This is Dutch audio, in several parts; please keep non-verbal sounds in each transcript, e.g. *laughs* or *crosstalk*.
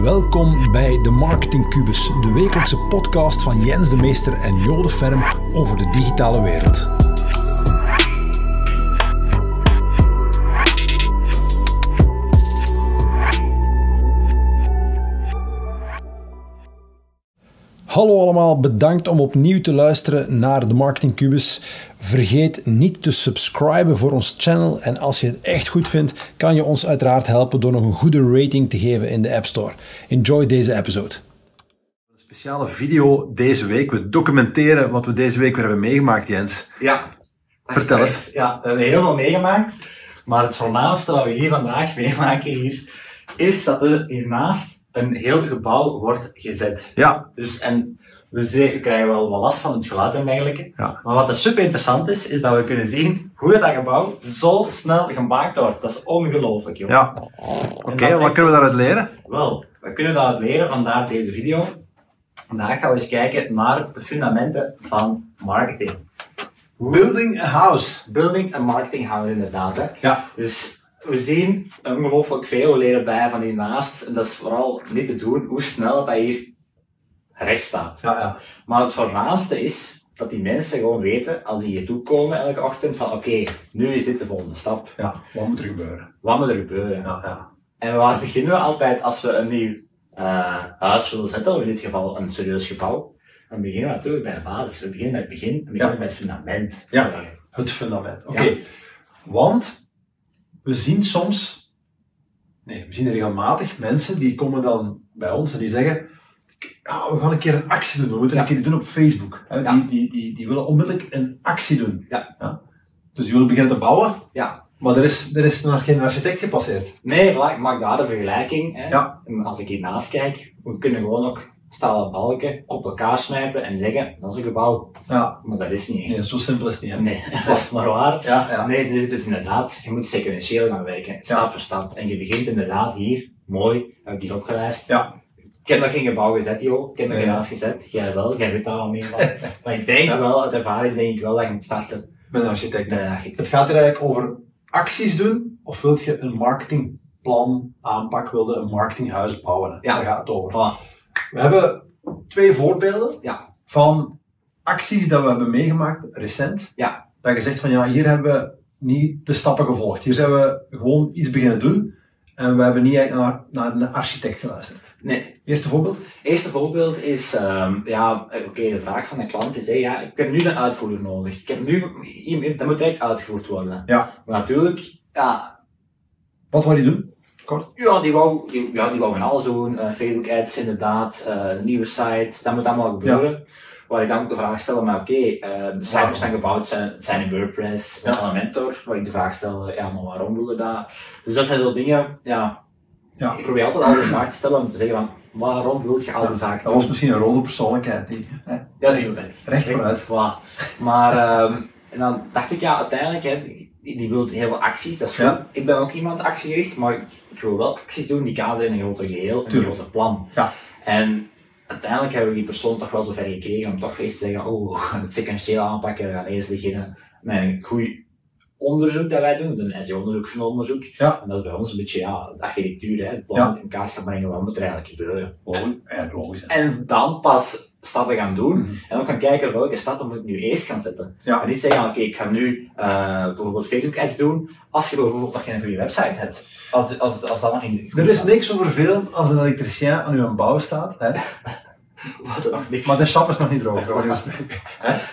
Welkom bij de Marketing Cubus, de wekelijkse podcast van Jens de Meester en Jode Ferm over de digitale wereld. Hallo allemaal, bedankt om opnieuw te luisteren naar de Marketing Cubus. Vergeet niet te subscriben voor ons channel en als je het echt goed vindt, kan je ons uiteraard helpen door nog een goede rating te geven in de App Store. Enjoy deze episode. Een speciale video deze week. We documenteren wat we deze week weer hebben meegemaakt, Jens. Ja. Vertel eens. Ja, we hebben heel veel meegemaakt. Maar het voornaamste wat we hier vandaag meemaken hier, is dat er hiernaast een heel gebouw wordt gezet. Ja, Dus, en we, zien- we krijgen wel wat last van het geluid en dergelijke. Ja. Maar wat er super interessant is, is dat we kunnen zien hoe dat gebouw zo snel gemaakt wordt. Dat is ongelooflijk, joh. ja. Oké, wat kunnen we daaruit leren? Wel, we kunnen daaruit leren, vandaar deze video. Vandaag gaan we eens kijken naar de fundamenten van marketing. Building a house. Building en marketing houden inderdaad. Hè. Ja. Dus we zien ongelooflijk veel leren bij van hiernaast. En dat is vooral niet te doen hoe snel dat, dat hier recht staat. Ja, ja. Maar het voornaamste is dat die mensen gewoon weten, als die hier toe komen elke ochtend, van oké, nu is dit de volgende stap. Ja, wat moet er gebeuren? Wat moet er gebeuren? Ja, ja. En waar beginnen we altijd als we een nieuw eh, huis willen zetten, of in dit geval een serieus gebouw? Dan beginnen we natuurlijk bij de basis. We beginnen bij het begin, we beginnen Ja. bij het fundament. Ja. Het fundament. Oké, Ja. want we zien soms, nee, we zien regelmatig mensen die komen dan bij ons en die zeggen, "Ja, we gaan een keer een actie doen, we moeten Ja. een keer iets doen op Facebook. Hè, Ja. Die, die, die, die willen onmiddellijk een actie doen. Ja. Dus die willen beginnen te bouwen, ja, Maar er is, er is nog geen architect gepasseerd. Nee, voilà, ik maak daar de vergelijking. Hè. Ja. En Als ik hiernaast kijk, we kunnen gewoon ook stalen balken op elkaar smijten en zeggen, dat is een gebouw. Ja. Maar dat is niet echt. Nee, zo simpel is het niet. Hè? Nee, *laughs* dat is maar waar. Ja, ja. Nee, dus, dus inderdaad, je moet sequentieel gaan werken, stap voor stap. En je begint inderdaad hier, mooi, heb ik hier opgelijst. Ja. Ik heb nog geen gebouw gezet, joh. Ik heb nog Nee. geen huis gezet. Jij wel, jij weet daar al *laughs* meer van. maar ik denk Ja. wel, uit ervaring denk ik wel dat je moet starten Met een architect. met een architect. Het gaat hier eigenlijk over acties doen, of wilt je een marketingplan aanpak, wilde een marketinghuis bouwen. Ja. Daar gaat het over. Voilà. We hebben twee voorbeelden Ja. van acties dat we hebben meegemaakt recent. Ja. Dat je zegt van ja, hier hebben we niet de stappen gevolgd. Hier zijn we gewoon iets beginnen doen en we hebben niet eigenlijk naar, naar een architect geluisterd. Nee, Eerste voorbeeld? Eerste voorbeeld is, ehm, ja, oké, de vraag van de klant is, hé, ja, ik heb nu een uitvoerder nodig. Ik heb nu, iemand- dat moet direct uitgevoerd worden. Ja. Maar natuurlijk, ja, Wat wil je doen? Kort. ja, die wou, die, ja, die wou van alles doen. Eh, Facebook ads inderdaad, eh, een nieuwe site, dat moet allemaal gebeuren. Waar ik dan ook de vraag stel, maar oké, eh, de Waarom? sites zijn gebouwd, zijn, zijn in WordPress, met Ja. een mentor. Waar ik de vraag stel, eh, ja, maar waarom doen we dat? Dus dat zijn zo dingen, ja, Ja. ik probeer altijd al de vraag te stellen om te zeggen van, waarom wil je al die zaken Dat was misschien een rode persoonlijkheid. Die, hè, Ja, die wil ik. Recht vooruit. Voilà. Maar ehm, en dan dacht ik, ja, uiteindelijk, hè, die, die wil heel veel acties. Dat is goed. Ja. Ik ben ook iemand actiegericht, maar ik, ik wil wel acties doen die kaderen in een groter geheel, in een Tuurlijk. groter plan. Ja. En uiteindelijk hebben we die persoon toch wel zover gekregen om toch eens te zeggen, oh, we gaan het sequentieel aanpakken, we gaan eerst beginnen met een goed onderzoek dat wij doen, een SEO-onderzoek van onderzoek. Ja. En dat is bij ons een beetje, ja, de architectuur, hè, het plan in kaart gaan brengen, wat moet er eigenlijk gebeuren. Ja, logisch. hè. En dan pas stappen gaan doen. Mhm. En ook gaan kijken welke stappen moet ik nu eerst gaan zetten. Ja. En niet zeggen, oké, ik ga nu eh, bijvoorbeeld Facebook ads doen. Als je bijvoorbeeld nog geen goede website hebt. Als, als, als dat nog niet Er is niks zo vervelend als een elektricien aan uw bouw staat, hè? Wat er nog niks. maar de sap is nog niet droog. volgens mij.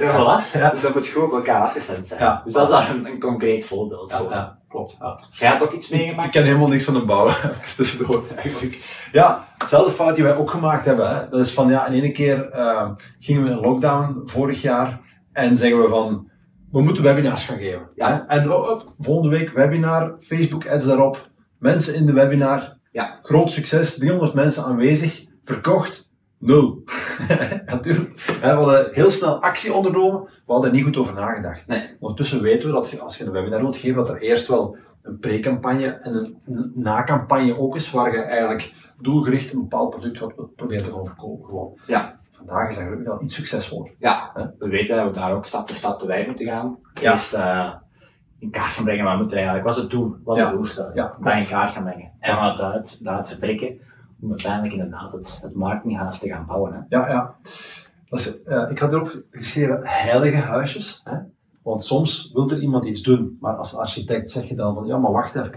ja, voilà. Ja. Dus dat moet gewoon op elkaar afgestemd zijn. Ja. Dus dat is daar een, een concreet voorbeeld Ja, voor. ja, klopt. ja. Jij hebt ook iets Ik meegemaakt? ken helemaal niks van een bouw, *laughs* even tussendoor eigenlijk. Ja, dezelfde fout die wij ook gemaakt hebben. Hè. Dat is van, ja, in ene keer eh, gingen we in lockdown vorig jaar en zeggen we van, we moeten webinars gaan geven. Ja. hè. En oh, oh, volgende week webinar, Facebook ads daarop, mensen in de webinar, Ja. groot succes, 300 mensen aanwezig, verkocht, nul. *laughs* Natuurlijk, hè, we hadden heel snel actie ondernomen, we hadden er niet goed over nagedacht. Nee. Ondertussen weten we dat je, als je een webinar wilt geven, dat er eerst wel een pre-campagne en een n- na-campagne ook is, waar je eigenlijk doelgericht een bepaald product wat wilt proberen te gaan verkopen. Gewoon. Ja. Vandaag is dat gelukkig al iets succesvoller. Ja, we weten dat we daar ook stap voor stap te wij moeten gaan. Ja. Eerst eh, in kaart gaan brengen, waar moeten we eigenlijk, wat is het doel, wat is Ja. het doelstelling. Ja, Dat in kaart gaan brengen. En vanuit daaruit, daaruit vertrekken, om uiteindelijk inderdaad het, het marketinghuis te gaan bouwen. Hè. Ja, ja. Dat is, eh, ik had erop geschreven heilige huisjes. Hè? Want soms wil er iemand iets doen, maar als architect zeg je dan van ja, maar wacht even.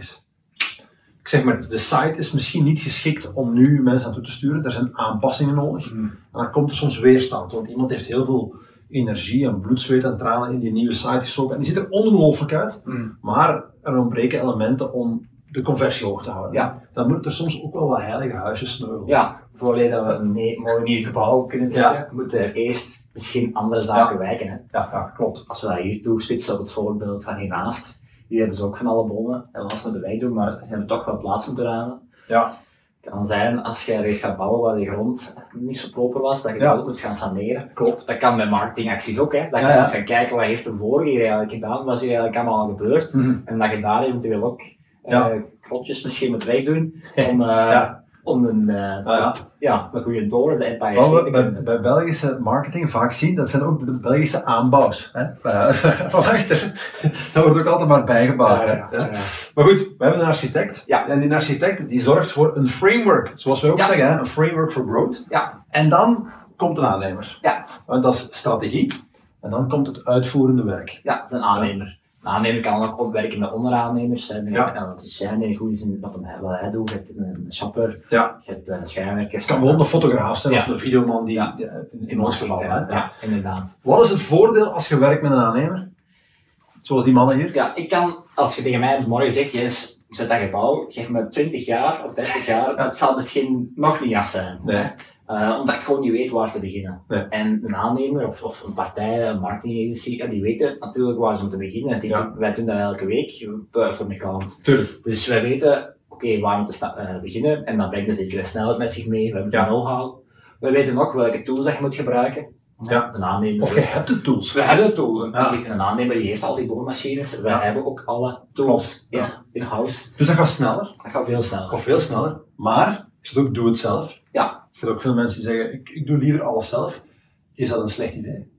Ik zeg maar, de site is misschien niet geschikt om nu mensen naartoe te sturen. Er zijn aanpassingen nodig. En dan komt er soms weerstand, want iemand heeft heel veel energie en bloed, zweet en tranen in die nieuwe site gestoken. En die ziet er ongelooflijk uit, maar er ontbreken elementen om de conversie hoog te houden. Ja. Dan moeten er soms ook wel wat heilige huisjes sneuvelen. Ja, voordat we een ne- mooi nieuw gebouw kunnen zetten, Ja. moeten er eerst misschien andere zaken wijken. Hè. Ja, ja, klopt. Als we dat hier toespitsen op het voorbeeld van hiernaast, hier hebben ze ook van alle bomen en als we de weg doen, maar ze hebben toch wel plaats moeten ruimen. Ja, Het kan zijn, als je ergens gaat bouwen waar de grond niet zo proper was, dat je Ja. dat ook moet gaan saneren. klopt. Dat kan met marketingacties ook, hè. Dat je Ja, ja. soms gaat kijken, wat heeft de vorige hier eigenlijk gedaan, wat is hier eigenlijk allemaal gebeurd. Mhm. En dat je daar eventueel ook Ja. eh, klotjes misschien moet wegdoen, om, eh, Ja. om een, eh, Ah, ja. Oh, ja, een goede toren, de Empire Wat State we te bij, kunnen. bij Belgische marketing vaak zien, dat zijn ook de Belgische aanbouws. Hè? Eh, *laughs* Van achter. Dat wordt ook altijd maar bijgebouwd. hè. Ja, ja, ja. Maar goed, we hebben een architect. Ja. En die architect die zorgt voor een framework. Zoals wij ook Ja. zeggen, hè? een framework for growth. Ja, En dan komt een aannemer. ja, Want dat is strategie. En dan komt het uitvoerende werk. ja, dat is een aannemer. Een aannemer kan ook opwerken met onderaannemers. Hè. Ja. Ja. Kan dat dus zijn die goed is in wat, hem, wat hij doet. Je hebt een chapper, Ja. je hebt eh, schijnwerkers. Het kan gewoon een fotograaf zijn of Ja. een videoman die, Ja. ja, in, in ons geval. Hè? Ja, inderdaad. Wat is het voordeel als je werkt met een aannemer? Zoals die mannen hier. Ja, ik kan, als je tegen mij morgen zegt, Jens, zet dat gebouw, geef me 20 jaar of 30 jaar, dat zal misschien nog niet af zijn. Nee. Eh, omdat ik gewoon niet weet waar te beginnen. Nee. En een aannemer of, of een partij, een marketingagency, ja, die weten natuurlijk waar ze moeten beginnen. En die Ja. doen- wij doen dat elke week eh, voor een klant. Tuurlijk. Dus wij weten, oké, waar we te sta- eh, beginnen. En dan brengt een zekere snelheid met zich mee. We hebben Ja. de know-how. We weten ook welke tools dat je moet gebruiken. Ja. Een aannemer. Of je hebt de tools. We hebben een tool. Een- Ja. Een aannemer die heeft al die boormachines. We Ja. hebben ook alle tools in- Ja. in-house. Dus dat gaat sneller. Dat gaat veel sneller. Of veel sneller. Maar, ik zit ook doe het zelf. Ja, Ik vind ook veel mensen die zeggen, ik, ik doe liever alles zelf. Is dat een slecht idee?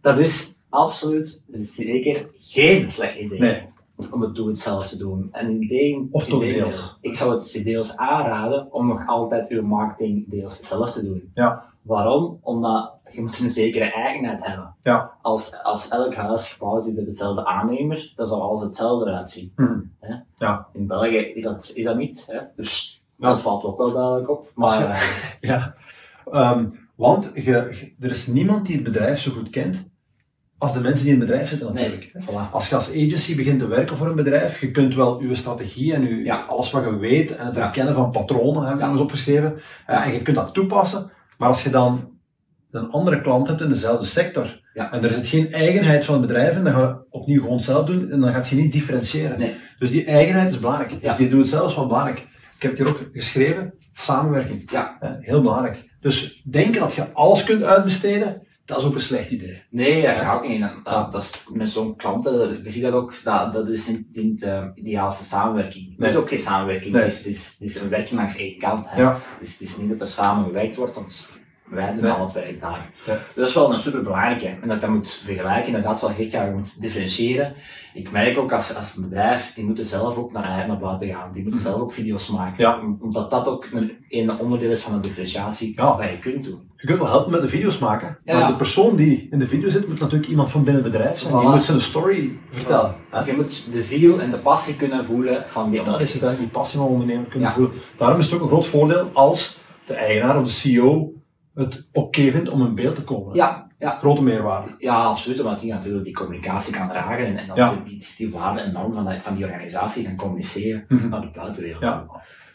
dat is absoluut dat is zeker geen slecht idee. Nee. om het doe het zelf te doen. En in tegen- Of toch integendeel, deels. Ik zou het deels aanraden om nog altijd uw marketing deels zelf te doen. Ja. Waarom? Omdat je moet een zekere eigenheid hebben. Ja. Als, als elk huis gebouwd is door dezelfde aannemer, dan zal alles hetzelfde eruit zien. Hm. In België is dat, is dat niet. Hè? Dus Ja. dat valt ook wel duidelijk op. Als Maar je- eh, Ja. Ehm, want je- je- er is niemand die het bedrijf zo goed kent als de mensen die in het bedrijf zitten natuurlijk. nee, voilà. Als je als agency begint te werken voor een bedrijf, je kunt wel je strategie en je, Ja. alles wat je weet en het Ja. herkennen van patronen, hebben we Ja. eens opgeschreven, Ja, en je kunt dat toepassen. Maar als je dan een andere klant hebt in dezelfde sector Ja. en er zit geen eigenheid van het bedrijf in, dan ga je opnieuw gewoon zelf doen en dan gaat je niet differentiëren. Nee. Dus die eigenheid is belangrijk. Dus Ja. die doet zelfs wel belangrijk. Ik heb het hier ook geschreven, samenwerking. Ja. Hè, Eh, Heel belangrijk. Dus denken dat je alles kunt uitbesteden, dat is ook een slecht idee. Nee, dat gaat ook niet. Dat, dat, dat is met zo'n klanten, je ziet dat ook, dat, dat is niet, niet de ideaalste samenwerking. Het is Nee. ook geen samenwerking, Nee. het, is, het, is, het is een werking langs één kant. Hè. Ja. Dus het is niet dat er samen gewerkt wordt, want wij doen Nee. al het werk daar. Ja. Dat is wel een superbelangrijke. En dat je dat moet vergelijken, inderdaad, zoals ik ja, je moet differentiëren. Ik merk ook als, als een bedrijf, die moeten zelf ook naar, eigen- naar buiten gaan. Die moeten zelf ook video's maken. Mhm. Ja. Om- Omdat dat ook een, een onderdeel is van de differentiatie Ja. dat je kunt doen. Je kunt wel helpen met de video's maken, Ja. maar de persoon die in de video zit, moet natuurlijk iemand van binnen het bedrijf zijn. Die Voilà. moet zijn story vertellen. hè. Je moet de ziel en de passie kunnen voelen van die Dat is het, hè, die passie van ondernemer kunnen Ja. voelen. Daarom is het ook een groot voordeel als de eigenaar of de CEO het oké vindt om in beeld te komen. Ja, ja, Grote meerwaarde. ja, absoluut. Want die natuurlijk die communicatie kan dragen en, en dan Ja. die, die waarde en norm van, die- van die organisatie gaan communiceren Mhm. naar de buitenwereld. Ja.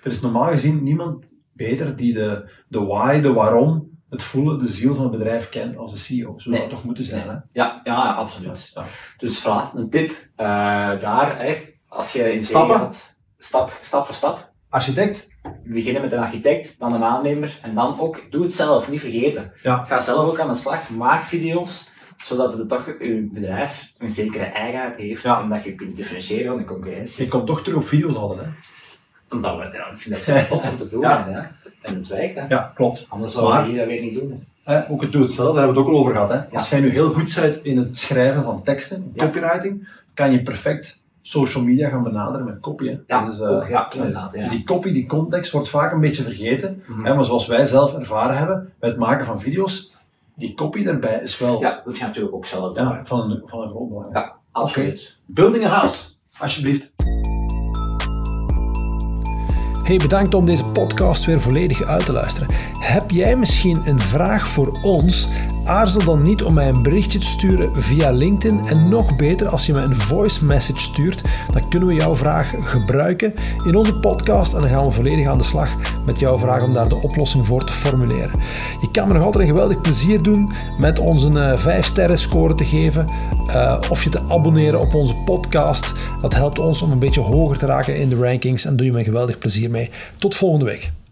Er is normaal gezien niemand beter die de, de why, de waarom, het voelen, de ziel van het bedrijf kent als de CEO. Zo zou Nee. dat toch moeten zijn, hè? Ja, ja, absoluut. Ja. Dus voilà, een tip eh, daar. Hè, als je in zee Stappen? gaat, stap, stap voor stap. Architect? Beginnen met een architect, dan een aannemer en dan ook doe het zelf, niet vergeten. Ja. Ga zelf ook aan de slag, maak video's zodat het toch je bedrijf een zekere eigenheid heeft Ja. en dat je kunt differentiëren van de concurrentie. Je komt toch terug op video's hadden, hè? Omdat we, ja, ik vind dat zo tof om te doen. Ja. Hè? En het werkt, hè. Ja, klopt. Anders zouden Maar- we hier dat weer niet doen. hè. Hè, ook het doe het zelf, daar hebben we het ook al over gehad. Hè? Als jij nu heel goed bent in het schrijven van teksten, copywriting, kan je perfect social media gaan benaderen met copy. Hè. Ja, Dat is, eh, ook, ja, inderdaad, ja. Die copy, die context wordt vaak een beetje vergeten. Mhm. Hè, maar zoals wij zelf ervaren hebben met het maken van video's, die copy daarbij is wel Ja, dat moet je natuurlijk ook zelf doen. ja, van, een, van een groot belang. Ja. Absoluut. Building a house, alsjeblieft. Hey, bedankt om deze podcast weer volledig uit te luisteren. Heb jij misschien een vraag voor ons? Aarzel dan niet om mij een berichtje te sturen via LinkedIn. En nog beter als je me een voice message stuurt, dan kunnen we jouw vraag gebruiken in onze podcast. En dan gaan we volledig aan de slag met jouw vraag om daar de oplossing voor te formuleren. Je kan me nog altijd een geweldig plezier doen met ons een 5-sterren score te geven eh, of je te abonneren op onze podcast. Dat helpt ons om een beetje hoger te raken in de rankings en doe je me een geweldig plezier mee. Tot volgende week.